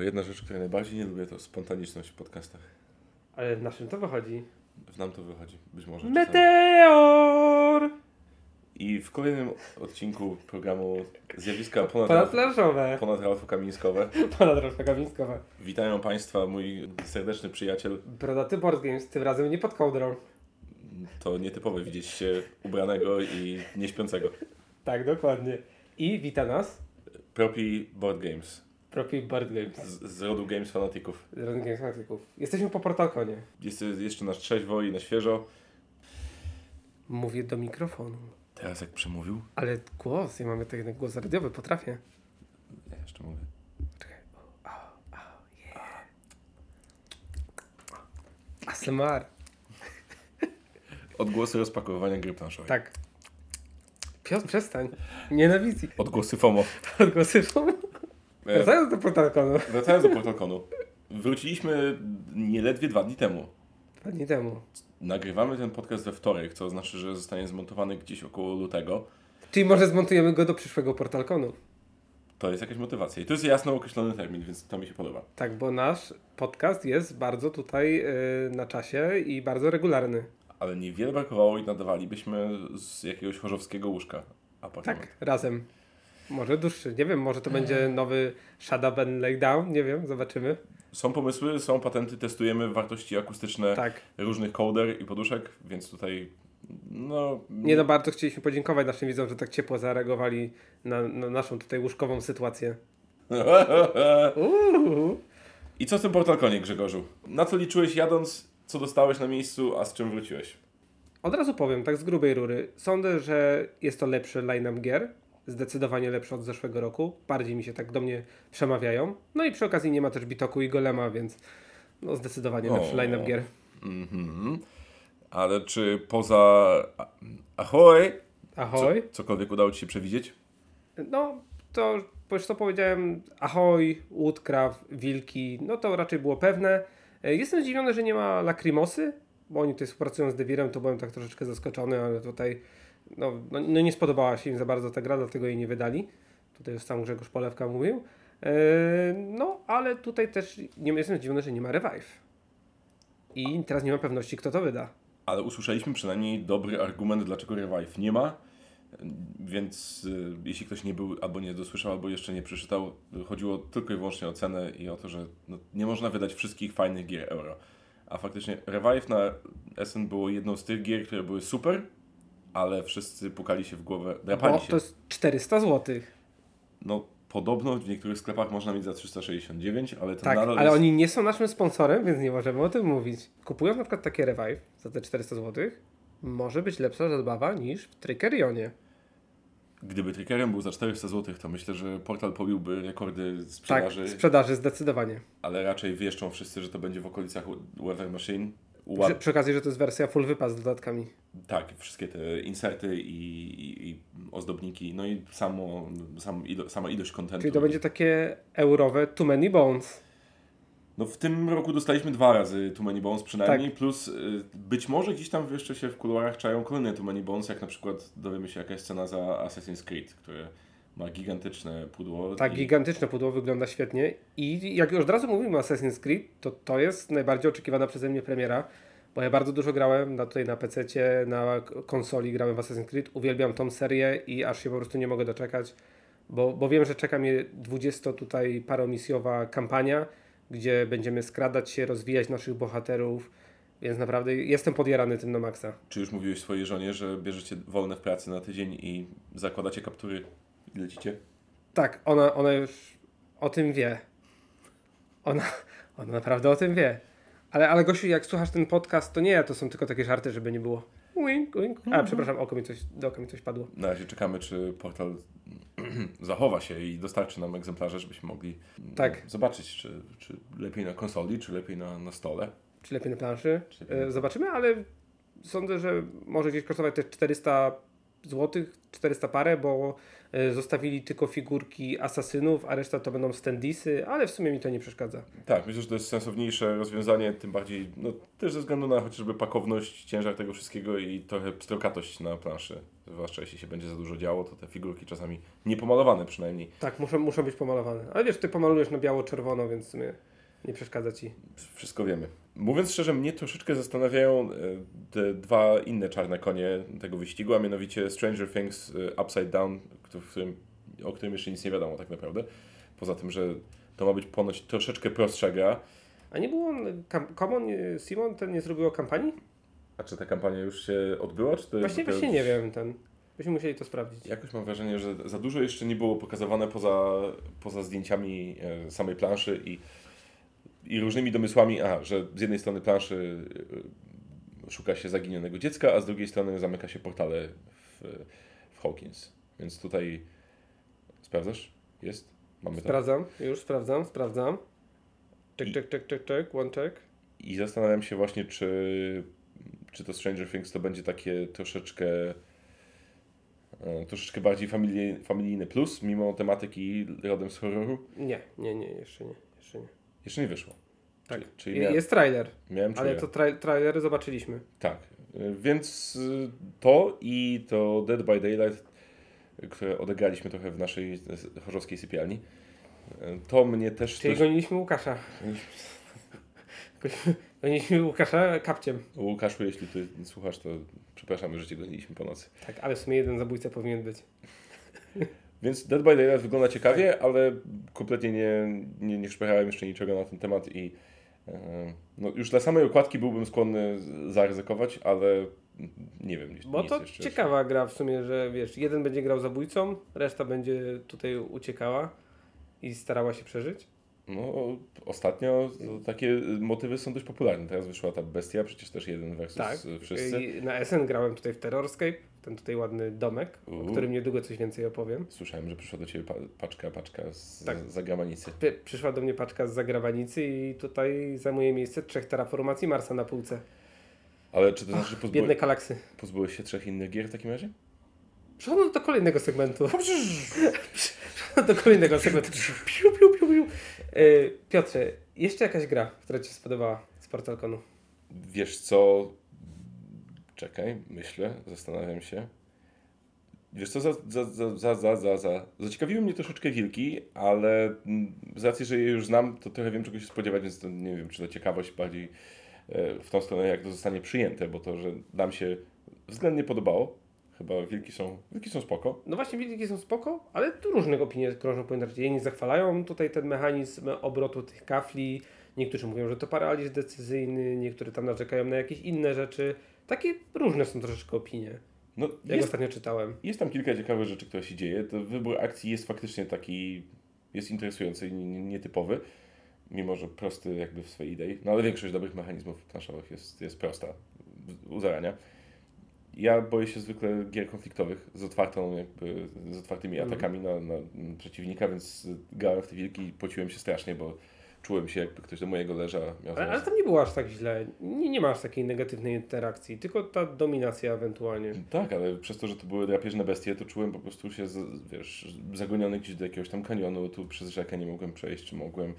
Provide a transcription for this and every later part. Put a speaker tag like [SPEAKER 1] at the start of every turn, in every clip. [SPEAKER 1] jedna rzecz, której najbardziej nie lubię, to spontaniczność w podcastach.
[SPEAKER 2] Ale w naszym to wychodzi.
[SPEAKER 1] W nam to wychodzi, być może. No, czasami.
[SPEAKER 2] Meteor!
[SPEAKER 1] I w kolejnym odcinku programu Zjawiska ponad,
[SPEAKER 2] Ponadplażowe.
[SPEAKER 1] ponad Ralfu Kamińskowe
[SPEAKER 2] Ponadrożka gawińskowa.
[SPEAKER 1] witają Państwa mój serdeczny przyjaciel.
[SPEAKER 2] Brodaty Board Games, tym razem nie pod kołdrą.
[SPEAKER 1] To nietypowe widzieć się ubranego i nieśpiącego.
[SPEAKER 2] Tak, dokładnie. I wita nas
[SPEAKER 1] Propi Board Games
[SPEAKER 2] Profi Board Games.
[SPEAKER 1] z, z rodu Games Fanatików.
[SPEAKER 2] Z Run Games Fanatyków. Jesteśmy po Portalkonie.
[SPEAKER 1] Jest jeszcze nasz trzeźwo i na świeżo.
[SPEAKER 2] Mówię do mikrofonu.
[SPEAKER 1] Teraz jak przemówił,
[SPEAKER 2] Ale głos, ja mamy ten głos radiowy, potrafię.
[SPEAKER 1] ja jeszcze mówię.
[SPEAKER 2] Czekaj. ASMR.
[SPEAKER 1] Odgłosy rozpakowywania gry planszowej.
[SPEAKER 2] Tak. Piotr, przestań. Nienawidzi.
[SPEAKER 1] Odgłosy FOMO.
[SPEAKER 2] Odgłosy są.
[SPEAKER 1] E,
[SPEAKER 2] Wracając do Portalkonu.
[SPEAKER 1] Wracając do Portalkonu. Wróciliśmy nieledwie dwa dni temu.
[SPEAKER 2] Dwa dni temu.
[SPEAKER 1] Nagrywamy ten podcast we wtorek, co znaczy, że zostanie zmontowany gdzieś około lutego.
[SPEAKER 2] Czyli może zmontujemy go do przyszłego Portalkonu.
[SPEAKER 1] To jest jakaś motywacja. I to jest jasno określony termin, więc to mi się podoba.
[SPEAKER 2] Tak, bo nasz podcast jest bardzo tutaj y, na czasie i bardzo regularny.
[SPEAKER 1] Ale niewiele brakowało i nadawalibyśmy z jakiegoś chorzowskiego łóżka apartament.
[SPEAKER 2] Tak, razem. Może dłuższy, nie wiem, może to będzie nowy Shadow and Laydown, nie wiem, zobaczymy.
[SPEAKER 1] Są pomysły, są patenty, testujemy wartości akustyczne
[SPEAKER 2] Tak.
[SPEAKER 1] różnych kołder i poduszek, więc tutaj no...
[SPEAKER 2] Nie no, bardzo chcieliśmy podziękować naszym widzom, że tak ciepło zareagowali na, na naszą tutaj łóżkową sytuację. Uuu.
[SPEAKER 1] I co w tym portalkonie, Grzegorzu? Na co liczyłeś jadąc, co dostałeś na miejscu, a z czym wróciłeś?
[SPEAKER 2] Od razu powiem, tak z grubej rury. Sądzę, że jest to lepszy line-up gier. Zdecydowanie lepszy od zeszłego roku. Bardziej mi się tak do mnie przemawiają. No i przy okazji nie ma też Bitoku i Golema, więc no zdecydowanie
[SPEAKER 1] O.
[SPEAKER 2] lepszy line-up gier.
[SPEAKER 1] Mhm. Ale czy poza a- Ahoj co,
[SPEAKER 2] Ahoj.
[SPEAKER 1] cokolwiek udało Ci się przewidzieć?
[SPEAKER 2] No to, bo już co powiedziałem, Ahoj, Woodcraft, Wilki, no to raczej było pewne. E, Jestem zdziwiony, że nie ma Lacrimosy, bo oni tutaj współpracują z Devirem, to byłem tak troszeczkę zaskoczony, ale tutaj no, no, no nie spodobała się im za bardzo ta gra, dlatego jej nie wydali. Tutaj już sam Grzegorz Polewka mówił. E, No, ale tutaj też nie, jestem zdziwiony, że nie ma Revive. I teraz nie mam pewności, kto to wyda.
[SPEAKER 1] Ale usłyszeliśmy przynajmniej dobry argument, dlaczego Revive nie ma. Więc y, jeśli ktoś nie był, albo nie dosłyszał, albo jeszcze nie przeczytał, chodziło tylko i wyłącznie o cenę i o to, że no, nie można wydać wszystkich fajnych gier euro. A faktycznie Revive na SN było jedną z tych gier, które były super, ale wszyscy pukali się w głowę, drapali
[SPEAKER 2] Bo
[SPEAKER 1] się.
[SPEAKER 2] to jest 400 zł.
[SPEAKER 1] No podobno w niektórych sklepach można mieć za 369, ale to
[SPEAKER 2] Tak,
[SPEAKER 1] nadal
[SPEAKER 2] ale
[SPEAKER 1] jest...
[SPEAKER 2] oni nie są naszym sponsorem, więc nie możemy o tym mówić. Kupując na przykład takie Revive za te 400 zł, może być lepsza zabawa niż w Tak, Trickerionie.
[SPEAKER 1] Gdyby trickerem był za 400 zł, to myślę, że portal pobiłby rekordy
[SPEAKER 2] Tak,
[SPEAKER 1] sprzedaży,
[SPEAKER 2] sprzedaży zdecydowanie.
[SPEAKER 1] ale raczej wieszczą wszyscy, że to będzie w okolicach We- Weather Machine.
[SPEAKER 2] Przy,
[SPEAKER 1] Ład...
[SPEAKER 2] przy okazji, że to jest wersja full wypas z dodatkami.
[SPEAKER 1] Tak, wszystkie te inserty i, i, i ozdobniki, no i samo, sam, ilo, sama ilość kontentu.
[SPEAKER 2] Czyli to będzie takie eurowe Too Many Bones.
[SPEAKER 1] No w tym roku dostaliśmy dwa razy Too Many Bones przynajmniej,
[SPEAKER 2] Tak.
[SPEAKER 1] plus y, być może gdzieś tam jeszcze się w kuluarach czają kolejne Too Many Bones, jak na przykład dowiemy się jaka jest cena za Assassin's Creed, które ma gigantyczne pudło.
[SPEAKER 2] Tak,
[SPEAKER 1] i-
[SPEAKER 2] gigantyczne pudło wygląda świetnie. I jak już od razu mówimy o Assassin's Creed, to to jest najbardziej oczekiwana przeze mnie premiera, bo ja bardzo dużo grałem na, tutaj na PC, na k- konsoli grałem w Assassin's Creed. Uwielbiam tą serię i aż się po prostu nie mogę doczekać, bo, bo wiem, że czeka mnie 20 tutaj paromisjowa kampania, gdzie będziemy skradać się, rozwijać naszych bohaterów, więc naprawdę jestem podjarany tym na maksa.
[SPEAKER 1] Czy już mówiłeś swojej żonie, że bierzecie wolne w pracy na tydzień i zakładacie kaptury i lecicie?
[SPEAKER 2] Tak, ona, ona już o tym wie. Ona, ona naprawdę o tym wie. Ale, ale Gosiu, jak słuchasz ten podcast, to nie, to są tylko takie żarty, żeby nie było. Wink, wink.
[SPEAKER 1] Mhm.
[SPEAKER 2] A, przepraszam, oko mi coś, do oka mi coś padło.
[SPEAKER 1] Na razie czekamy, czy portal zachowa się i dostarczy nam egzemplarze, żebyśmy mogli mm,
[SPEAKER 2] Tak.
[SPEAKER 1] zobaczyć, czy, czy lepiej na konsoli, czy lepiej na, na stole.
[SPEAKER 2] Czy lepiej na planszy?
[SPEAKER 1] Czy lepiej na-
[SPEAKER 2] E, Zobaczymy, ale sądzę, że może gdzieś kosztować te 400 zł, 400 parę, bo e, zostawili tylko figurki asasynów, a reszta to będą standisy, ale w sumie mi to nie przeszkadza.
[SPEAKER 1] Tak, myślę, że to jest sensowniejsze rozwiązanie, tym bardziej no, też ze względu na chociażby pakowność, ciężar tego wszystkiego i trochę pstrokatość na planszy. zwłaszcza jeśli się będzie za dużo działo, to te figurki czasami niepomalowane przynajmniej.
[SPEAKER 2] Tak, muszą, muszą być pomalowane. Ale wiesz, ty pomalujesz na biało-czerwono, więc w sumie nie przeszkadza ci.
[SPEAKER 1] Wszystko wiemy. Mówiąc szczerze, mnie troszeczkę zastanawiają e, te dwa inne czarne konie tego wyścigu, a mianowicie Stranger Things e, Upside Down, któ- w którym, o którym jeszcze nic nie wiadomo tak naprawdę. Poza tym, że to ma być ponoć troszeczkę prostsza gra.
[SPEAKER 2] A nie było on, kam, Common, e, Simon ten nie zrobiło kampanii?
[SPEAKER 1] A czy ta kampania już się odbyła? Czy to
[SPEAKER 2] Właśnie,
[SPEAKER 1] dopiero-
[SPEAKER 2] właśnie nie wiem ten. Byśmy musieli to sprawdzić.
[SPEAKER 1] Jakoś mam wrażenie, że za dużo jeszcze nie było pokazywane poza, poza zdjęciami e, samej planszy i, i różnymi domysłami, aha, że z jednej strony planszy e, szuka się zaginionego dziecka, a z drugiej strony zamyka się portale w, w Hawkins. Więc tutaj sprawdzasz? Jest? Mamy to.
[SPEAKER 2] Sprawdzam, już sprawdzam, sprawdzam. Czek,
[SPEAKER 1] I-
[SPEAKER 2] czek, czek, czek, czek, one check.
[SPEAKER 1] I zastanawiam się właśnie, czy, czy to Stranger Things to będzie takie troszeczkę e, troszeczkę bardziej familij, familijny plus, mimo tematyki rodem z horroru.
[SPEAKER 2] Nie, nie, nie, jeszcze nie, jeszcze nie.
[SPEAKER 1] Jeszcze nie wyszło.
[SPEAKER 2] Tak.
[SPEAKER 1] Czyli, czyli
[SPEAKER 2] Je-
[SPEAKER 1] miałem,
[SPEAKER 2] Jest trailer,
[SPEAKER 1] miałem
[SPEAKER 2] ale
[SPEAKER 1] czuję.
[SPEAKER 2] to tra- trailer zobaczyliśmy.
[SPEAKER 1] Tak. Y, Więc y, to i to Dead by Daylight, y, które odegraliśmy trochę w naszej y, chorzowskiej sypialni, y, to mnie też...
[SPEAKER 2] Czyli
[SPEAKER 1] dość-
[SPEAKER 2] goniliśmy Łukasza. goniliśmy Łukasza kapciem.
[SPEAKER 1] Łukaszu, jeśli ty słuchasz, to przepraszamy, że cię goniliśmy po nocy.
[SPEAKER 2] Tak, ale w sumie jeden zabójca powinien być.
[SPEAKER 1] Więc Dead by Daylight wygląda
[SPEAKER 2] Tak.
[SPEAKER 1] ciekawie, ale kompletnie nie, nie, nie szperałem jeszcze niczego na ten temat i y, no, już dla samej okładki byłbym skłonny zaryzykować, ale mm, nie wiem. nic-
[SPEAKER 2] Bo
[SPEAKER 1] nic
[SPEAKER 2] to
[SPEAKER 1] jeszcze-
[SPEAKER 2] ciekawa gra w sumie, że wiesz, jeden będzie grał zabójcą, reszta będzie tutaj uciekała i starała się przeżyć.
[SPEAKER 1] No, ostatnio to takie motywy są dość popularne. Teraz wyszła ta bestia, przecież też jeden versus
[SPEAKER 2] Tak.
[SPEAKER 1] wszyscy.
[SPEAKER 2] I na SN grałem tutaj w Terrorscape, ten tutaj ładny domek,
[SPEAKER 1] Uuu.
[SPEAKER 2] o którym niedługo coś więcej opowiem.
[SPEAKER 1] Słyszałem, że przyszła do ciebie pa- paczka, paczka z
[SPEAKER 2] Tak.
[SPEAKER 1] tak. zagamanicy.
[SPEAKER 2] Py- Przyszła do mnie paczka z zagranicy i tutaj zajmuje miejsce trzech terraformacji Marsa na półce.
[SPEAKER 1] Ale czy to znaczy, że pozbyłe-
[SPEAKER 2] Biedne galaksy.
[SPEAKER 1] pozbyłeś się trzech innych gier w takim razie?
[SPEAKER 2] Przechodzę do kolejnego segmentu. Przechodzę do kolejnego segmentu. Piu, piu, piu, piu. Yy, Piotrze, jeszcze jakaś gra, która Ci się spodobała z Portalkonu?
[SPEAKER 1] Wiesz co? Czekaj, myślę, zastanawiam się. Wiesz co, za, za, za, za, za, za, za. zaciekawiły mnie troszeczkę wilki, ale mm, z racji, że je już znam, to trochę wiem czego się spodziewać, więc to nie wiem, czy to ciekawość bardziej e, w tą stronę, jak to zostanie przyjęte, bo to, że nam się względnie podobało, chyba wilki są, wilki są spoko.
[SPEAKER 2] No właśnie, wilki są spoko, ale tu różnych opinii krążą po internecie. Jedni zachwalają tutaj ten mechanizm obrotu tych kafli, niektórzy mówią, że to paraliż decyzyjny, niektórzy tam narzekają na jakieś inne rzeczy. Takie różne są troszeczkę opinie,
[SPEAKER 1] No,
[SPEAKER 2] jak
[SPEAKER 1] jest,
[SPEAKER 2] ostatnio czytałem.
[SPEAKER 1] jest tam kilka ciekawych rzeczy, które się dzieje. To wybór akcji jest faktycznie taki, jest interesujący i nie- nietypowy, mimo że prosty jakby w swojej idei. No ale większość dobrych mechanizmów planszowych jest, jest prosta u zarania. Ja boję się zwykle gier konfliktowych z, otwartą jakby, z otwartymi
[SPEAKER 2] Mhm.
[SPEAKER 1] atakami na, na przeciwnika, więc grałem w te wilki i pociłem się strasznie, bo czułem się jakby ktoś do mojego leża miał
[SPEAKER 2] Ale, ale
[SPEAKER 1] zaraz-
[SPEAKER 2] tam nie było aż tak źle. Nie, nie ma aż takiej negatywnej interakcji, tylko ta dominacja ewentualnie.
[SPEAKER 1] Tak, ale przez to, że to były drapieżne bestie, to czułem po prostu się, z, wiesz, zagoniony gdzieś do jakiegoś tam kanionu, tu przez rzekę nie mogłem przejść, czy mogłem.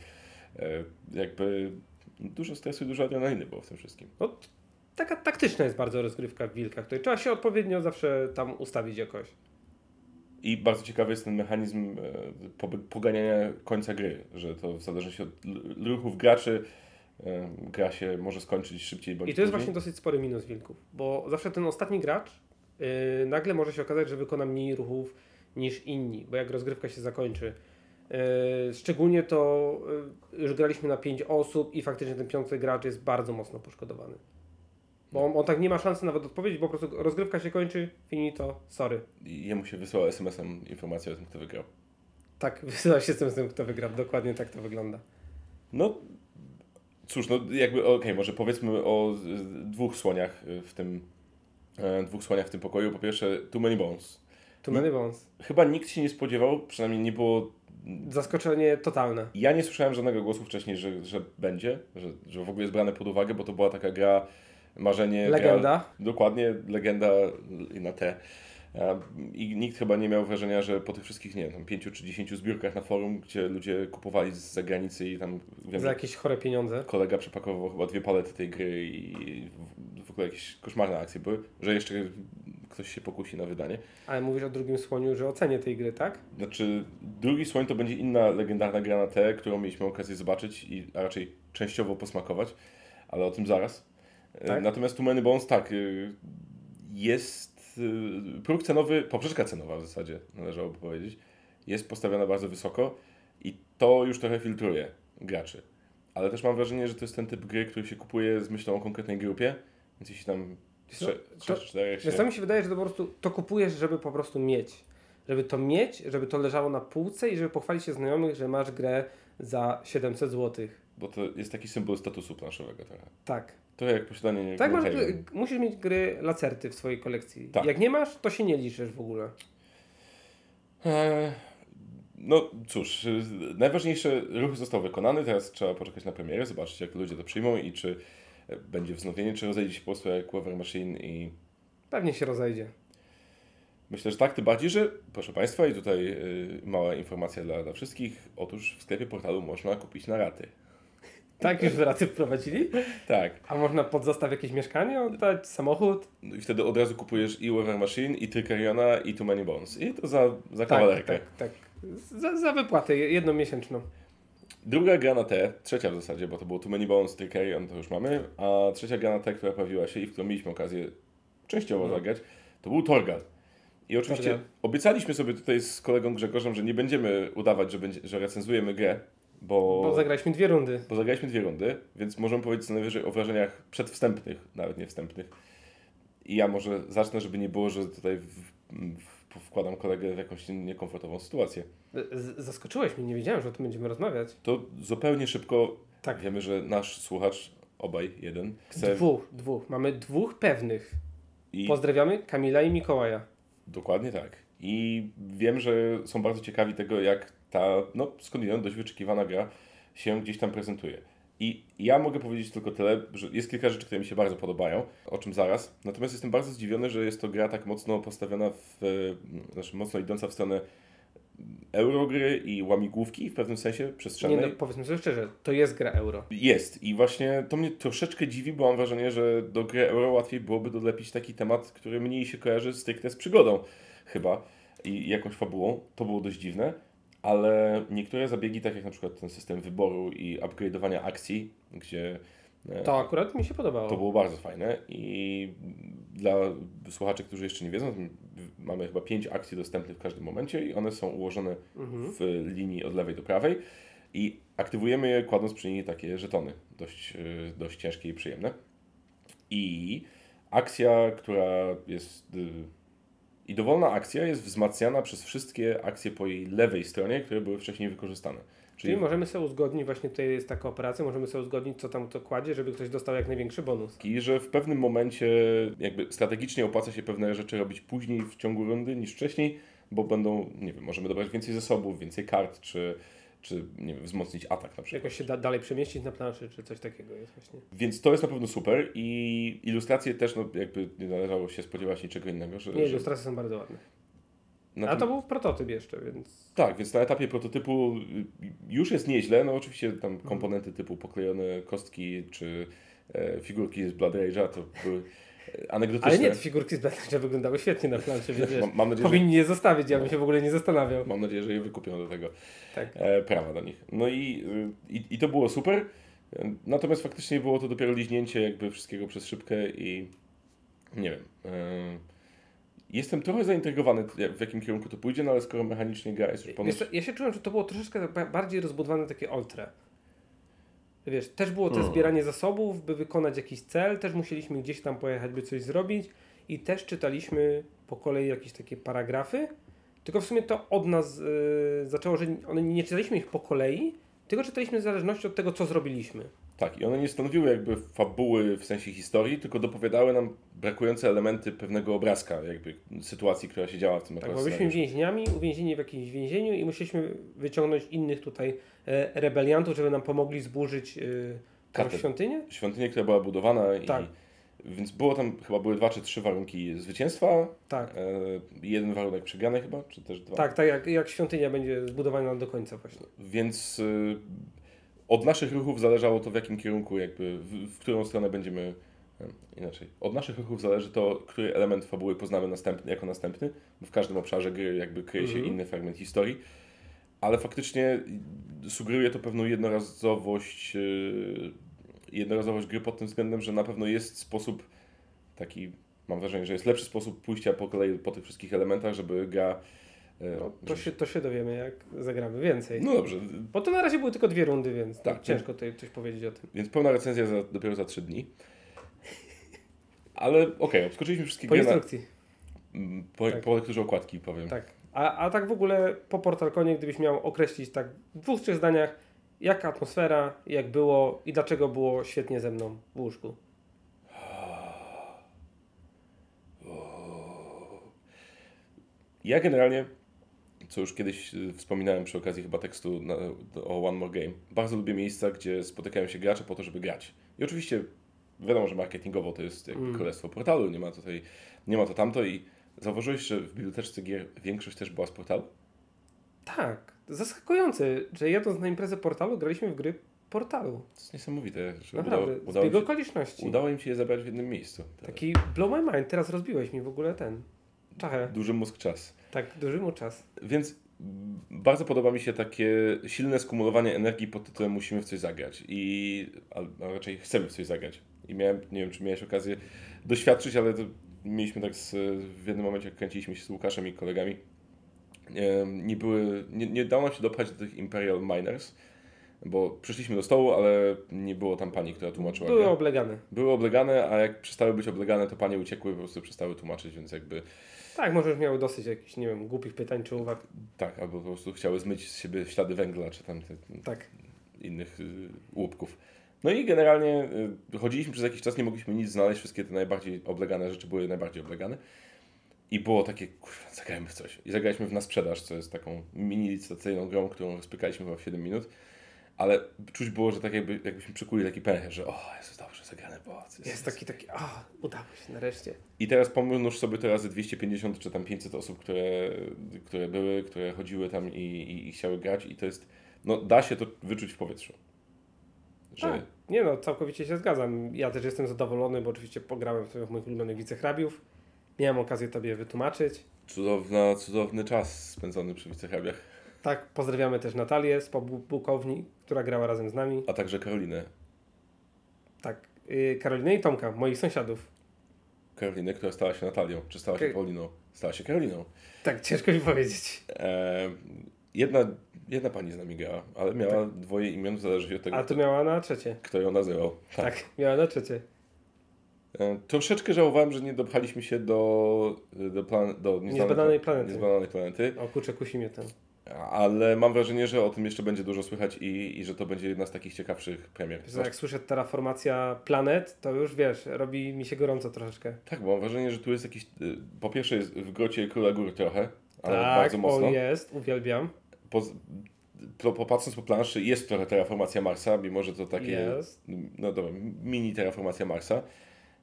[SPEAKER 1] E, jakby dużo stresu i dużo adrenaliny było w tym wszystkim.
[SPEAKER 2] No, t- taka taktyczna jest bardzo rozgrywka w wilkach, której trzeba się odpowiednio zawsze tam ustawić jakoś.
[SPEAKER 1] I bardzo ciekawy jest ten mechanizm e, po, poganiania końca gry, że to w zależności od l- ruchów graczy e, gra się może skończyć szybciej bądź
[SPEAKER 2] I to jest właśnie
[SPEAKER 1] później.
[SPEAKER 2] dosyć spory minus wilków, bo zawsze ten ostatni gracz yy, nagle może się okazać, że wykona mniej ruchów niż inni, bo jak rozgrywka się zakończy. Yy, szczególnie to yy, już graliśmy na 5 osób i faktycznie ten piąty gracz jest bardzo mocno poszkodowany. Bo on, on tak nie ma szansy nawet odpowiedzieć, bo po prostu rozgrywka się kończy, finito, sorry.
[SPEAKER 1] I jemu się wysłała SMS-em informacja o tym, kto wygrał.
[SPEAKER 2] Tak, wysyła się z tym, z tym, kto wygra. Dokładnie tak to wygląda.
[SPEAKER 1] No cóż, no jakby okej, może powiedzmy o y, dwóch słoniach y, w tym e, dwóch słoniach w tym pokoju. Po pierwsze, Too Many Bones.
[SPEAKER 2] Too many bones.
[SPEAKER 1] Chyba nikt się nie spodziewał, przynajmniej nie było.
[SPEAKER 2] Zaskoczenie totalne.
[SPEAKER 1] Ja nie słyszałem żadnego głosu wcześniej, że, że będzie, że, że w ogóle jest brane pod uwagę, bo to była taka gra marzenie. Gra,
[SPEAKER 2] Legenda.
[SPEAKER 1] dokładnie, legenda l- na T. E, I nikt chyba nie miał wrażenia, że po tych wszystkich, nie wiem, tam pięciu czy dziesięciu zbiórkach na forum, gdzie ludzie kupowali z zagranicy i tam wiem,
[SPEAKER 2] Za
[SPEAKER 1] że
[SPEAKER 2] jakieś chore pieniądze.
[SPEAKER 1] kolega przepakował chyba dwie palety tej gry i w- w ogóle jakieś koszmarne akcje były, że jeszcze ktoś się pokusi na wydanie.
[SPEAKER 2] Ale mówisz o drugim słoniu, że ocenię tej gry, tak?
[SPEAKER 1] Znaczy, drugi słoń to będzie inna legendarna gra na T, którą mieliśmy okazję zobaczyć i a raczej częściowo posmakować, ale o tym zaraz. E,
[SPEAKER 2] Tak?
[SPEAKER 1] Natomiast tu Many Bones tak, e, jest e, próg cenowy, poprzeczka cenowa w zasadzie należałoby powiedzieć, jest postawiona bardzo wysoko i to już trochę filtruje graczy. Ale też mam wrażenie, że to jest ten typ gry, który się kupuje z myślą o konkretnej grupie, więc jeśli tam trze-
[SPEAKER 2] to-
[SPEAKER 1] trzech, czterech
[SPEAKER 2] Wiesz,
[SPEAKER 1] się...
[SPEAKER 2] to mi się wydaje, że to po prostu to kupujesz, żeby po prostu mieć. Żeby to mieć, żeby to leżało na półce i żeby pochwalić się znajomych, że masz grę za 700 zł.
[SPEAKER 1] Bo to jest taki symbol statusu planszowego trochę.
[SPEAKER 2] Tak.
[SPEAKER 1] Trochę jak posiadanie...
[SPEAKER 2] Tak masz,
[SPEAKER 1] Grand Haven.
[SPEAKER 2] gry- musisz mieć gry lacerty w swojej kolekcji.
[SPEAKER 1] Tak.
[SPEAKER 2] Jak nie masz, to się nie liczysz w ogóle.
[SPEAKER 1] Eee, No cóż, y, najważniejszy ruch został wykonany, teraz trzeba poczekać na premierę, zobaczyć jak ludzie to przyjmą i czy e, będzie wznowienie, czy rozejdzie się po prostu jak Weather Machine i
[SPEAKER 2] Pewnie się rozejdzie.
[SPEAKER 1] myślę, że tak, tym bardziej, że proszę Państwa i tutaj y, mała informacja dla, dla wszystkich, otóż w sklepie portalu można kupić na raty.
[SPEAKER 2] Tak już raty wprowadzili?
[SPEAKER 1] Tak,
[SPEAKER 2] A można pod zastaw jakieś mieszkanie oddać, samochód?
[SPEAKER 1] No i wtedy od razu kupujesz i Weather Machine, i Trykariona, i Too Many Bones i to za, za
[SPEAKER 2] Tak,
[SPEAKER 1] kawalerkę.
[SPEAKER 2] tak, tak. Za, za wypłatę jednomiesięczną.
[SPEAKER 1] Druga gra na T, trzecia w zasadzie, bo to było Too Many Bones, Three Carry, on to już mamy, a trzecia gra na T, która pojawiła się i w którą mieliśmy okazję częściowo zagrać, to był Torgal. I oczywiście
[SPEAKER 2] Torgal.
[SPEAKER 1] obiecaliśmy sobie tutaj z kolegą Grzegorzem, że nie będziemy udawać, że, będzie, że recenzujemy grę, bo,
[SPEAKER 2] Bo zagraliśmy dwie rundy.
[SPEAKER 1] bo zagraliśmy dwie rundy, więc możemy powiedzieć co najwyżej o wrażeniach przedwstępnych, nawet nie wstępnych. I ja może zacznę, żeby nie było, że tutaj w, w, wkładam kolegę w jakąś niekomfortową sytuację.
[SPEAKER 2] Z, zaskoczyłeś mnie, nie wiedziałem, że o tym będziemy rozmawiać.
[SPEAKER 1] To zupełnie szybko.
[SPEAKER 2] Tak.
[SPEAKER 1] Wiemy, że nasz słuchacz, obaj, jeden, chce.
[SPEAKER 2] Dwóch, dwóch. Mamy dwóch pewnych.
[SPEAKER 1] I
[SPEAKER 2] Pozdrawiamy Kamila i Mikołaja.
[SPEAKER 1] dokładnie tak. I wiem, że są bardzo ciekawi tego, jak ta, no skądinąd dość wyczekiwana gra się gdzieś tam prezentuje. I ja mogę powiedzieć tylko tyle, że jest kilka rzeczy, które mi się bardzo podobają, o czym zaraz. Natomiast jestem bardzo zdziwiony, że jest to gra tak mocno postawiona w, e, znaczy mocno idąca w stronę eurogry i łamigłówki w pewnym sensie
[SPEAKER 2] Nie,
[SPEAKER 1] przestrzennej.
[SPEAKER 2] no, powiedzmy sobie szczerze, to jest gra euro.
[SPEAKER 1] Jest i właśnie to mnie troszeczkę dziwi, bo mam wrażenie, że do gry euro łatwiej byłoby dolepić taki temat, który mniej się kojarzy stricte z przygodą chyba i jakąś fabułą. To było dość dziwne, ale niektóre zabiegi, tak jak na przykład ten system wyboru i upgrade'owania akcji, gdzie e,
[SPEAKER 2] To akurat mi się podobało.
[SPEAKER 1] to było bardzo fajne i dla słuchaczy, którzy jeszcze nie wiedzą, mamy chyba pięć akcji dostępnych w każdym momencie i one są ułożone
[SPEAKER 2] Mhm.
[SPEAKER 1] w linii od lewej do prawej i aktywujemy je kładąc przy niej takie żetony, dość, y, dość ciężkie i przyjemne. I akcja, która jest... y, I dowolna akcja jest wzmacniana przez wszystkie akcje po jej lewej stronie, które były wcześniej wykorzystane.
[SPEAKER 2] Czyli możemy sobie uzgodnić, właśnie tutaj jest taka operacja, możemy sobie uzgodnić, co tam kto kładzie, żeby ktoś dostał jak największy bonus.
[SPEAKER 1] I że w pewnym momencie jakby strategicznie opłaca się pewne rzeczy robić później w ciągu rundy niż wcześniej, bo będą, nie wiem, możemy dobrać więcej zasobów, więcej kart, czy, czy nie wiem, wzmocnić atak na
[SPEAKER 2] Czy
[SPEAKER 1] przykład.
[SPEAKER 2] jakoś się da dalej przemieścić na planszy, czy coś takiego jest właśnie.
[SPEAKER 1] Więc to jest na pewno super i ilustracje też, no jakby nie należało się spodziewać niczego innego. Że,
[SPEAKER 2] Nie,
[SPEAKER 1] że
[SPEAKER 2] ilustracje są bardzo ładne.
[SPEAKER 1] na
[SPEAKER 2] A
[SPEAKER 1] tym-
[SPEAKER 2] to był prototyp jeszcze, więc
[SPEAKER 1] Tak, więc na etapie prototypu y, już jest nieźle, no oczywiście tam
[SPEAKER 2] Mhm.
[SPEAKER 1] komponenty typu poklejone kostki, czy e, figurki z Blood Rage'a to były e, anegdotyczne.
[SPEAKER 2] Ale nie, te figurki z Batman'a wyglądały świetnie na planszy, więc wiesz,
[SPEAKER 1] mam, mam nadzieję, że
[SPEAKER 2] powinni je zostawić, ja bym się w ogóle nie zastanawiał.
[SPEAKER 1] Mam nadzieję, że je wykupią do tego
[SPEAKER 2] Tak.
[SPEAKER 1] e, prawa do nich. No i, y, i, i to było super. E, Natomiast faktycznie było to dopiero liźnięcie jakby wszystkiego przez szybkę i nie wiem. E, jestem trochę zaintrygowany, jak- w jakim kierunku to pójdzie, no ale skoro mechanicznie gra jest już ponad...
[SPEAKER 2] Wiesz, co, ja się czułem, że to było troszeczkę ba- bardziej rozbudowane takie oltre. Wiesz, też było to
[SPEAKER 1] Hmm.
[SPEAKER 2] zbieranie zasobów, by wykonać jakiś cel, też musieliśmy gdzieś tam pojechać, by coś zrobić i też czytaliśmy po kolei jakieś takie paragrafy, tylko w sumie to od nas y, zaczęło, że one nie czytaliśmy ich po kolei, tylko czytaliśmy w zależności od tego, co zrobiliśmy.
[SPEAKER 1] Tak, i one nie stanowiły jakby fabuły w sensie historii, tylko dopowiadały nam brakujące elementy pewnego obrazka, jakby sytuacji, która się działa w tym
[SPEAKER 2] Tak,
[SPEAKER 1] akurat
[SPEAKER 2] bo byliśmy
[SPEAKER 1] scenariuszu.
[SPEAKER 2] więźniami, uwięzieni w jakimś więzieniu i musieliśmy wyciągnąć innych tutaj e, rebeliantów, żeby nam pomogli zburzyć y, tą
[SPEAKER 1] Katedrę.
[SPEAKER 2] świątynię.
[SPEAKER 1] Świątynię, która była budowana i...
[SPEAKER 2] Tak.
[SPEAKER 1] Więc było tam, chyba były dwa czy trzy warunki zwycięstwa,
[SPEAKER 2] Tak.
[SPEAKER 1] E, jeden warunek przegrany chyba, czy też dwa.
[SPEAKER 2] Tak, tak, jak, jak świątynia będzie zbudowana do końca właśnie.
[SPEAKER 1] Więc y, od naszych ruchów zależało to, w jakim kierunku, jakby, w, w którą stronę będziemy Inaczej. Od naszych ruchów zależy to, który element fabuły poznamy następny, jako następny, bo w każdym obszarze gry jakby kryje się
[SPEAKER 2] Mhm.
[SPEAKER 1] inny fragment historii. Ale faktycznie sugeruje to pewną jednorazowość, yy, jednorazowość gry pod tym względem, że na pewno jest sposób taki, mam wrażenie, że jest lepszy sposób pójścia po kolei po tych wszystkich elementach, żeby gra. yy,
[SPEAKER 2] No, to,
[SPEAKER 1] żeby-
[SPEAKER 2] się, to się dowiemy, jak zagramy więcej.
[SPEAKER 1] No dobrze,
[SPEAKER 2] Bo to na razie były tylko dwie rundy, więc
[SPEAKER 1] Tak,
[SPEAKER 2] ciężko tutaj coś powiedzieć o tym.
[SPEAKER 1] więc pełna recenzja za, dopiero za 3 dni. Ale okej, obskoczyliśmy wszystkie
[SPEAKER 2] Po
[SPEAKER 1] gry na,
[SPEAKER 2] instrukcji,
[SPEAKER 1] Mm, Po,
[SPEAKER 2] Tak.
[SPEAKER 1] po lekturze okładki powiem.
[SPEAKER 2] tak. A, a tak w ogóle po Portalkonie, gdybyś miał określić tak w dwóch, trzech zdaniach, jaka atmosfera, jak było i dlaczego było świetnie ze mną w łóżku.
[SPEAKER 1] Ja generalnie, co już kiedyś y, wspominałem przy okazji chyba tekstu na, o One More Game, bardzo lubię miejsca, gdzie spotykają się gracze po to, żeby grać. I oczywiście wiadomo, że marketingowo to jest jakby
[SPEAKER 2] Mm.
[SPEAKER 1] królestwo portalu, nie ma tutaj, nie ma to tamto i zauważyłeś, że w biblioteczce gier większość też była z portalu?
[SPEAKER 2] Tak, zaskakujące, że jadąc na imprezę portalu, graliśmy w gry portalu.
[SPEAKER 1] To jest niesamowite, że udało,
[SPEAKER 2] Naprawdę,
[SPEAKER 1] udało,
[SPEAKER 2] zbieg
[SPEAKER 1] im się,
[SPEAKER 2] okoliczności.
[SPEAKER 1] udało im się je zabrać w jednym miejscu.
[SPEAKER 2] Taki blow my mind, teraz rozbiłeś mi w ogóle ten. Czachę.
[SPEAKER 1] Duży mózg czas.
[SPEAKER 2] Tak, duży mu czas.
[SPEAKER 1] Więc mm, bardzo podoba mi się takie silne skumulowanie energii pod tytułem musimy w coś zagrać i a, a raczej chcemy w coś zagrać. I miałem, nie wiem czy miałeś okazję doświadczyć, ale to mieliśmy tak z, w jednym momencie jak kręciliśmy się z Łukaszem i kolegami, em, nie były, nie, nie dało nam się dopchać do tych Imperial Miners, bo przyszliśmy do stołu, ale nie było tam pani, która tłumaczyła. grę.
[SPEAKER 2] Były oblegane.
[SPEAKER 1] Były oblegane, a jak przestały być oblegane, to panie uciekły, po prostu przestały tłumaczyć, więc jakby
[SPEAKER 2] Tak, może już miały dosyć jakichś, nie wiem, głupich pytań czy uwag.
[SPEAKER 1] tak, albo po prostu chciały zmyć z siebie ślady węgla, czy tam te,
[SPEAKER 2] Tak.
[SPEAKER 1] innych y, łupków. No i generalnie y, chodziliśmy przez jakiś czas, nie mogliśmy nic znaleźć, wszystkie te najbardziej oblegane rzeczy były najbardziej oblegane. I było takie, kurwa, zagrajmy w coś. I zagraliśmy w Na Sprzedaż, co jest taką mini licytacyjną grą, którą rozpykaliśmy chyba w 7 minut. Ale czuć było, że tak jakby, jakbyśmy przykuli taki pęcherz, że o, jest dobrze zagrane, bo jest,
[SPEAKER 2] Jest tak. taki, taki, a, udało się nareszcie.
[SPEAKER 1] i teraz pomnóż sobie to razy 250 czy tam 500 osób, które, które były, które chodziły tam i, i, i chciały grać i to jest, no da się to wyczuć w powietrzu. Że
[SPEAKER 2] Tak. Nie no, całkowicie się zgadzam. Ja też jestem zadowolony, bo oczywiście pograłem w moich ulubionych wicehrabiów. Miałem okazję tobie wytłumaczyć.
[SPEAKER 1] cudowna, cudowny czas spędzony przy wicehrabiach,
[SPEAKER 2] Tak, pozdrawiamy też Natalię z Pobukowni, która grała razem z nami.
[SPEAKER 1] a także Karolinę.
[SPEAKER 2] Tak, yy, Karolinę i Tomka, moich sąsiadów.
[SPEAKER 1] Karolinę, która stała się Natalią, czy stała się
[SPEAKER 2] Okej.
[SPEAKER 1] Pauliną? Stała się Karoliną.
[SPEAKER 2] Tak, ciężko mi powiedzieć.
[SPEAKER 1] E, jedna, jedna pani z nami grała, ale miała dwoje imion, zależy od tego,
[SPEAKER 2] Tak. A tu miała na trzecie.
[SPEAKER 1] kto ją nazywał. Tak.
[SPEAKER 2] Tak, miała na trzecie.
[SPEAKER 1] E, Troszeczkę żałowałem, że nie dopchaliśmy się do, do, plan, do nieznanej-
[SPEAKER 2] Niezbadanej planety.
[SPEAKER 1] niezbadanej planety,
[SPEAKER 2] O kurczę, kusi mnie ten.
[SPEAKER 1] ale mam wrażenie, że o tym jeszcze będzie dużo słychać i, i że to będzie jedna z takich ciekawszych premier.
[SPEAKER 2] Wiesz, co, jak słyszę terraformacja planet, to już wiesz, robi mi się gorąco troszeczkę.
[SPEAKER 1] Tak, bo mam wrażenie, że tu jest jakiś. y, Po pierwsze, jest w grocie Króla Gór trochę, ale
[SPEAKER 2] Tak,
[SPEAKER 1] bardzo
[SPEAKER 2] o
[SPEAKER 1] mocno.
[SPEAKER 2] jest, uwielbiam.
[SPEAKER 1] Po, po, popatrząc po planszy, jest trochę terraformacja Marsa, mimo że to takie.
[SPEAKER 2] Jest.
[SPEAKER 1] No dobra, mini terraformacja Marsa.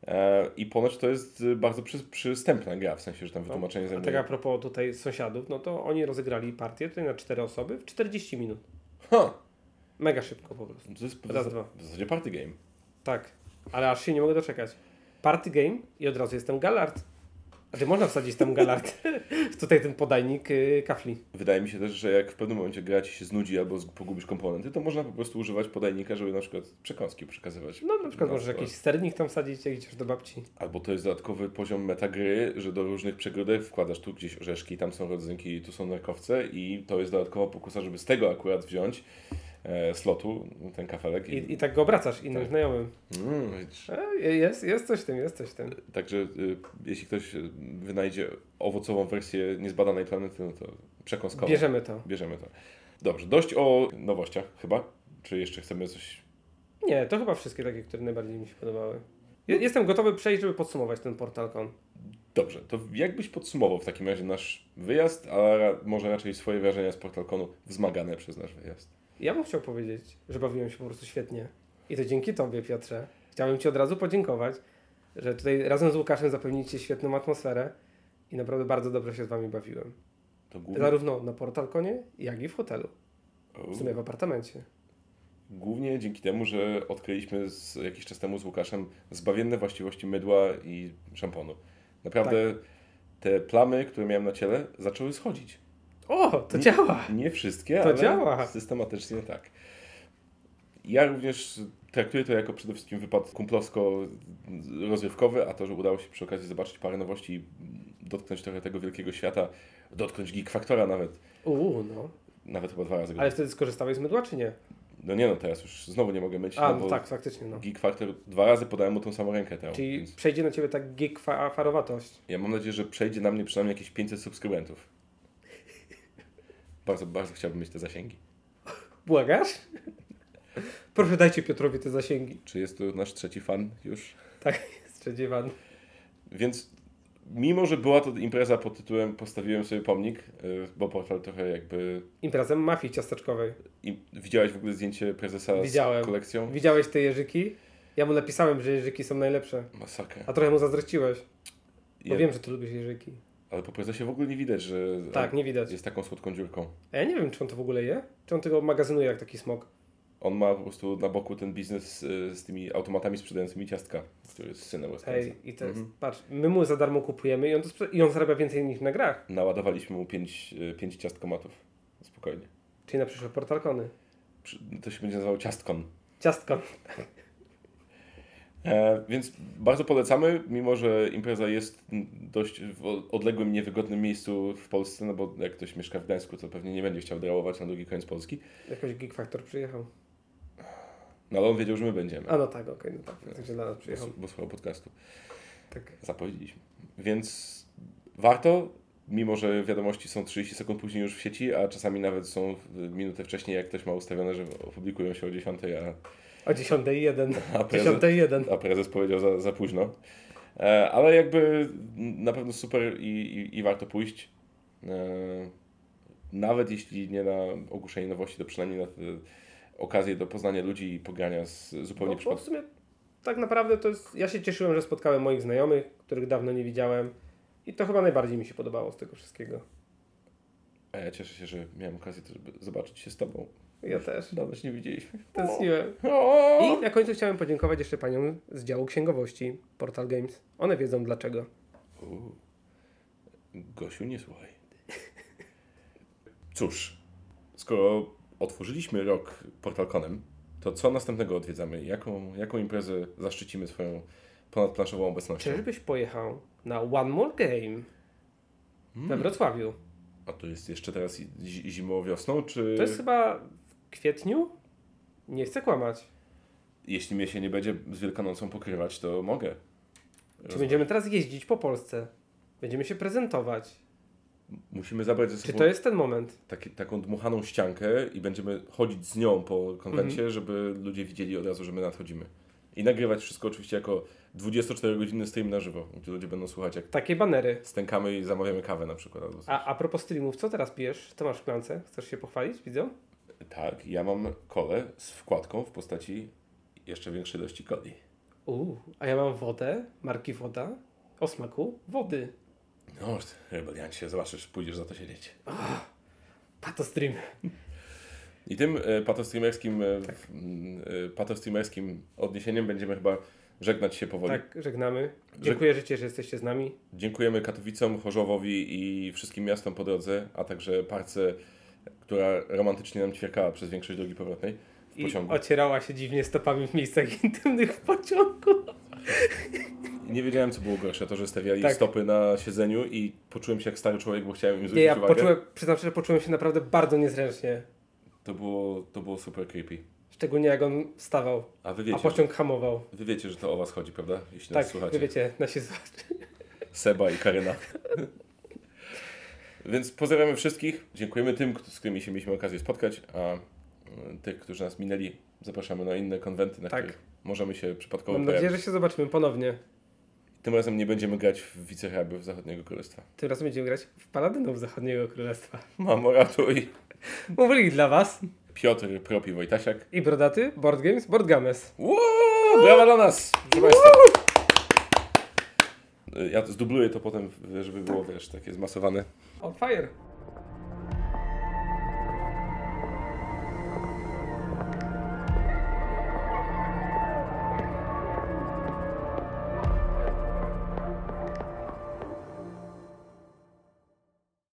[SPEAKER 1] E, I ponoć to jest y, bardzo przy, przystępna gra, w sensie, że tam wytłumaczenie
[SPEAKER 2] A
[SPEAKER 1] zajmuje.
[SPEAKER 2] tak a propos tutaj sąsiadów, no to oni rozegrali partię tutaj na cztery osoby w 40 minut.
[SPEAKER 1] Ha!
[SPEAKER 2] Mega szybko po prostu.
[SPEAKER 1] To jest
[SPEAKER 2] Raz,
[SPEAKER 1] w,
[SPEAKER 2] dwa.
[SPEAKER 1] w zasadzie party game.
[SPEAKER 2] Tak, ale aż się nie mogę doczekać. Party game i od razu jestem Galard. Znaczy można wsadzić tam Galard. tutaj ten podajnik yy, kafli.
[SPEAKER 1] Wydaje mi się też, że jak w pewnym momencie gra ci się znudzi albo z- pogubisz komponenty, to można po prostu używać podajnika, żeby na przykład przekąski przekazywać.
[SPEAKER 2] No na przykład
[SPEAKER 1] No,
[SPEAKER 2] możesz
[SPEAKER 1] tak.
[SPEAKER 2] jakiś sternik tam wsadzić, jak idziesz do babci.
[SPEAKER 1] Albo to jest dodatkowy poziom metagry, że do różnych przegródek wkładasz tu gdzieś orzeszki, tam są rodzynki, tu są nerkowce i to jest dodatkowa pokusa, żeby z tego akurat wziąć e, slotu ten kafelek.
[SPEAKER 2] I, I tak go obracasz innym
[SPEAKER 1] Tak.
[SPEAKER 2] znajomym.
[SPEAKER 1] Mm, widzisz.
[SPEAKER 2] E, Jest, jest coś w tym, jest coś w tym.
[SPEAKER 1] Także y, jeśli ktoś y, wynajdzie owocową wersję niezbadanej planety, no to przekąskowo.
[SPEAKER 2] Bierzemy to.
[SPEAKER 1] Bierzemy to. Dobrze, dość o nowościach chyba. Czy jeszcze chcemy coś
[SPEAKER 2] Nie, to chyba wszystkie takie, które najbardziej mi się podobały. Je- Jestem gotowy przejść, żeby podsumować ten portalkon.
[SPEAKER 1] Dobrze, to jakbyś podsumował w takim razie nasz wyjazd, a ra- może raczej swoje wrażenia z Portalkonu wzmagane przez nasz wyjazd.
[SPEAKER 2] Ja bym chciał powiedzieć, że bawiłem się po prostu świetnie. I to dzięki Tobie, Piotrze. Chciałbym Ci od razu podziękować, że tutaj razem z Łukaszem zapewnicie świetną atmosferę i naprawdę bardzo dobrze się z Wami bawiłem.
[SPEAKER 1] To głównie...
[SPEAKER 2] Zarówno na portalkonie, jak i w hotelu. W sumie w apartamencie.
[SPEAKER 1] Głównie dzięki temu, że odkryliśmy z, jakiś czas temu z Łukaszem zbawienne właściwości mydła i szamponu. Naprawdę
[SPEAKER 2] Tak.
[SPEAKER 1] te plamy, które miałem na ciele, zaczęły schodzić.
[SPEAKER 2] O, to
[SPEAKER 1] Nie-
[SPEAKER 2] działa!
[SPEAKER 1] Nie wszystkie,
[SPEAKER 2] To
[SPEAKER 1] ale
[SPEAKER 2] działa.
[SPEAKER 1] systematycznie tak. Ja również traktuję to jako przede wszystkim wypad kumplowsko-rozrywkowy, a to, że udało się przy okazji zobaczyć parę nowości, dotknąć trochę tego wielkiego świata, dotknąć Geek Factora nawet,
[SPEAKER 2] Uuu, no.
[SPEAKER 1] nawet chyba dwa razy. go
[SPEAKER 2] Ale wtedy skorzystałeś z mydła, czy nie?
[SPEAKER 1] No nie no, teraz już znowu nie mogę myć,
[SPEAKER 2] A,
[SPEAKER 1] no
[SPEAKER 2] no
[SPEAKER 1] bo
[SPEAKER 2] tak, faktycznie, no.
[SPEAKER 1] Geek Factor dwa razy podałem mu tą samą rękę tę.
[SPEAKER 2] Czyli
[SPEAKER 1] Więc
[SPEAKER 2] przejdzie na ciebie tak gig fa- farowatość.
[SPEAKER 1] ja mam nadzieję, że przejdzie na mnie przynajmniej jakieś 500 subskrybentów. Bardzo, bardzo chciałbym mieć te zasięgi.
[SPEAKER 2] Błagasz? Proszę dajcie Piotrowi te zasięgi.
[SPEAKER 1] Czy jest to nasz trzeci fan już?
[SPEAKER 2] Tak, spodziewam.
[SPEAKER 1] Więc mimo, że była to impreza pod tytułem Postawiłem sobie pomnik, y, bo portal trochę jakby...
[SPEAKER 2] Imprezę mafii ciasteczkowej.
[SPEAKER 1] I widziałeś w ogóle zdjęcie prezesa
[SPEAKER 2] Widziałem.
[SPEAKER 1] z kolekcją?
[SPEAKER 2] Widziałeś te jeżyki? Ja mu napisałem, że jeżyki są najlepsze.
[SPEAKER 1] Masakra.
[SPEAKER 2] A trochę mu zazdrościłeś. Bo
[SPEAKER 1] Ja-
[SPEAKER 2] wiem, że ty lubisz jeżyki.
[SPEAKER 1] Ale po prezesie w ogóle nie widać, że
[SPEAKER 2] Tak, nie widać.
[SPEAKER 1] jest taką słodką dziurką.
[SPEAKER 2] A ja nie wiem, czy on to w ogóle je? Czy on tego magazynuje jak taki smok?
[SPEAKER 1] On ma po prostu na boku ten biznes y, z tymi automatami sprzedającymi ciastka, który jest synem Westernsa.
[SPEAKER 2] Ej, i to jest,
[SPEAKER 1] Mhm.
[SPEAKER 2] patrz, my mu za darmo kupujemy i on, to sprze- i on zarabia więcej niż na grach.
[SPEAKER 1] Naładowaliśmy mu pięć, y, pięć ciastkomatów. Spokojnie.
[SPEAKER 2] Czyli na przyszłe portalkony.
[SPEAKER 1] Przy- To się będzie nazywał ciastkon.
[SPEAKER 2] Ciastko.
[SPEAKER 1] E, więc bardzo polecamy, mimo że impreza jest dość w o- odległym, niewygodnym miejscu w Polsce, no bo jak ktoś mieszka w Gdańsku, to pewnie nie będzie chciał drałować na drugi koniec Polski.
[SPEAKER 2] Jakoś Geek Factor przyjechał.
[SPEAKER 1] No ale on wiedział, że my będziemy,
[SPEAKER 2] A no tak, okej, no tak, faktycznie dla nas
[SPEAKER 1] bo,
[SPEAKER 2] przyjechał.
[SPEAKER 1] s- bo słuchał podcastu.
[SPEAKER 2] Tak.
[SPEAKER 1] Zapowiedzieliśmy. Więc warto, mimo że wiadomości są 30 sekund później już w sieci, a czasami nawet są w- minutę wcześniej, jak ktoś ma ustawione, że opublikują się o 10, a
[SPEAKER 2] O 10.01.
[SPEAKER 1] A prezes-
[SPEAKER 2] 10.01.
[SPEAKER 1] a prezes powiedział za, za późno. E, ale jakby na pewno super i, i, i warto pójść. E, nawet jeśli nie na ogłoszenie nowości, to przynajmniej na te okazję do poznania ludzi i pogrania z zupełnie
[SPEAKER 2] No, bo w
[SPEAKER 1] przypadkiem.
[SPEAKER 2] sumie tak naprawdę to jest, ja się cieszyłem, że spotkałem moich znajomych, których dawno nie widziałem. I to chyba najbardziej mi się podobało z tego wszystkiego.
[SPEAKER 1] A ja E, cieszę się, że miałem okazję też by zobaczyć się z Tobą.
[SPEAKER 2] Ja też.
[SPEAKER 1] Dawno się nie widzieliśmy.
[SPEAKER 2] Tak. Tęskniłem.
[SPEAKER 1] O!
[SPEAKER 2] I na końcu chciałem podziękować jeszcze paniom z działu księgowości Portal Games. One wiedzą dlaczego.
[SPEAKER 1] U. Gosiu, nie słuchaj. Cóż, skoro otworzyliśmy rok Portalconem, to co następnego odwiedzamy? Jaką, jaką imprezę zaszczycimy swoją ponadplanszową obecnością?
[SPEAKER 2] Czyżbyś pojechał na One More Game we Wrocławiu?
[SPEAKER 1] A to jest jeszcze teraz i- zi- zimą, wiosną, czy
[SPEAKER 2] To jest chyba w kwietniu? Nie chcę kłamać.
[SPEAKER 1] jeśli mnie się nie będzie z Wielkanocą pokrywać, to mogę.
[SPEAKER 2] Czy będziemy teraz jeździć po Polsce? Będziemy się prezentować.
[SPEAKER 1] Musimy zabrać ze
[SPEAKER 2] Czy
[SPEAKER 1] sobą
[SPEAKER 2] to jest ten moment?
[SPEAKER 1] taki, taką dmuchaną ściankę i będziemy chodzić z nią po konwencie,
[SPEAKER 2] Mhm.
[SPEAKER 1] żeby ludzie widzieli od razu, że my nadchodzimy. I nagrywać wszystko oczywiście jako 24-godzinny stream na żywo, gdzie ludzie będą słuchać, jak
[SPEAKER 2] Takie banery.
[SPEAKER 1] stękamy i zamawiamy kawę na przykład. Albo coś.
[SPEAKER 2] A, a propos streamów, co teraz pijesz? To masz w szklance? Chcesz się pochwalić? Widzę?
[SPEAKER 1] Tak, ja mam kole z wkładką w postaci jeszcze większej ilości coli.
[SPEAKER 2] Uuu, a ja mam wodę, marki woda, o smaku wody.
[SPEAKER 1] No, rebeliancie, zobaczysz, pójdziesz za to siedzieć.
[SPEAKER 2] Pato stream.
[SPEAKER 1] I tym e, patostreamerskim, e, w- m, e, patostreamerskim odniesieniem będziemy chyba żegnać się powoli.
[SPEAKER 2] Tak, żegnamy. Dziękuję, że, że jesteście z nami.
[SPEAKER 1] Dziękujemy Katowicom, Chorzowowi i wszystkim miastom po drodze, a także parce, która romantycznie nam ćwierkała przez większość drogi powrotnej w
[SPEAKER 2] I
[SPEAKER 1] pociągu.
[SPEAKER 2] ocierała się dziwnie stopami w miejscach intymnych w pociągu.
[SPEAKER 1] Nie wiedziałem, co było gorsze, to, że stawiali
[SPEAKER 2] Tak.
[SPEAKER 1] stopy na siedzeniu i poczułem się jak stary człowiek, bo chciałem im zwrócić
[SPEAKER 2] Nie, ja
[SPEAKER 1] uwagę.
[SPEAKER 2] poczułem, przyznam szczerze, poczułem się naprawdę bardzo niezręcznie.
[SPEAKER 1] To, było, to było super creepy.
[SPEAKER 2] Szczególnie jak on wstawał,
[SPEAKER 1] A wy
[SPEAKER 2] a
[SPEAKER 1] wiecie,
[SPEAKER 2] pociąg hamował.
[SPEAKER 1] że, wy wiecie, że to o was chodzi, prawda? Jeśli
[SPEAKER 2] Tak,
[SPEAKER 1] nas
[SPEAKER 2] wy
[SPEAKER 1] słuchacie.
[SPEAKER 2] wiecie, nasi słuchacze.
[SPEAKER 1] Seba i Karyna. Więc pozdrawiamy wszystkich. Dziękujemy tym, kto- z którymi się mieliśmy okazję spotkać, a y, tych, którzy nas minęli, zapraszamy na inne konwenty, na
[SPEAKER 2] Tak.
[SPEAKER 1] których możemy się przypadkowo
[SPEAKER 2] Mam nadzieję,
[SPEAKER 1] pojawić.
[SPEAKER 2] że się zobaczymy ponownie.
[SPEAKER 1] Tym razem nie będziemy grać w wiceherabów Zachodniego Królestwa.
[SPEAKER 2] Tym razem będziemy grać w Paladynów Zachodniego Królestwa.
[SPEAKER 1] Mamo, ratuj!
[SPEAKER 2] Mówili dla was
[SPEAKER 1] Piotr, Propi, Wojtasiak.
[SPEAKER 2] i brodaty Board Games, Board Games.
[SPEAKER 1] Ło! Brawa dla nas! Proszę Państwa. Y, Ja zdubluję to potem, w- żeby było, wiesz, takie zmasowane.
[SPEAKER 2] On fire!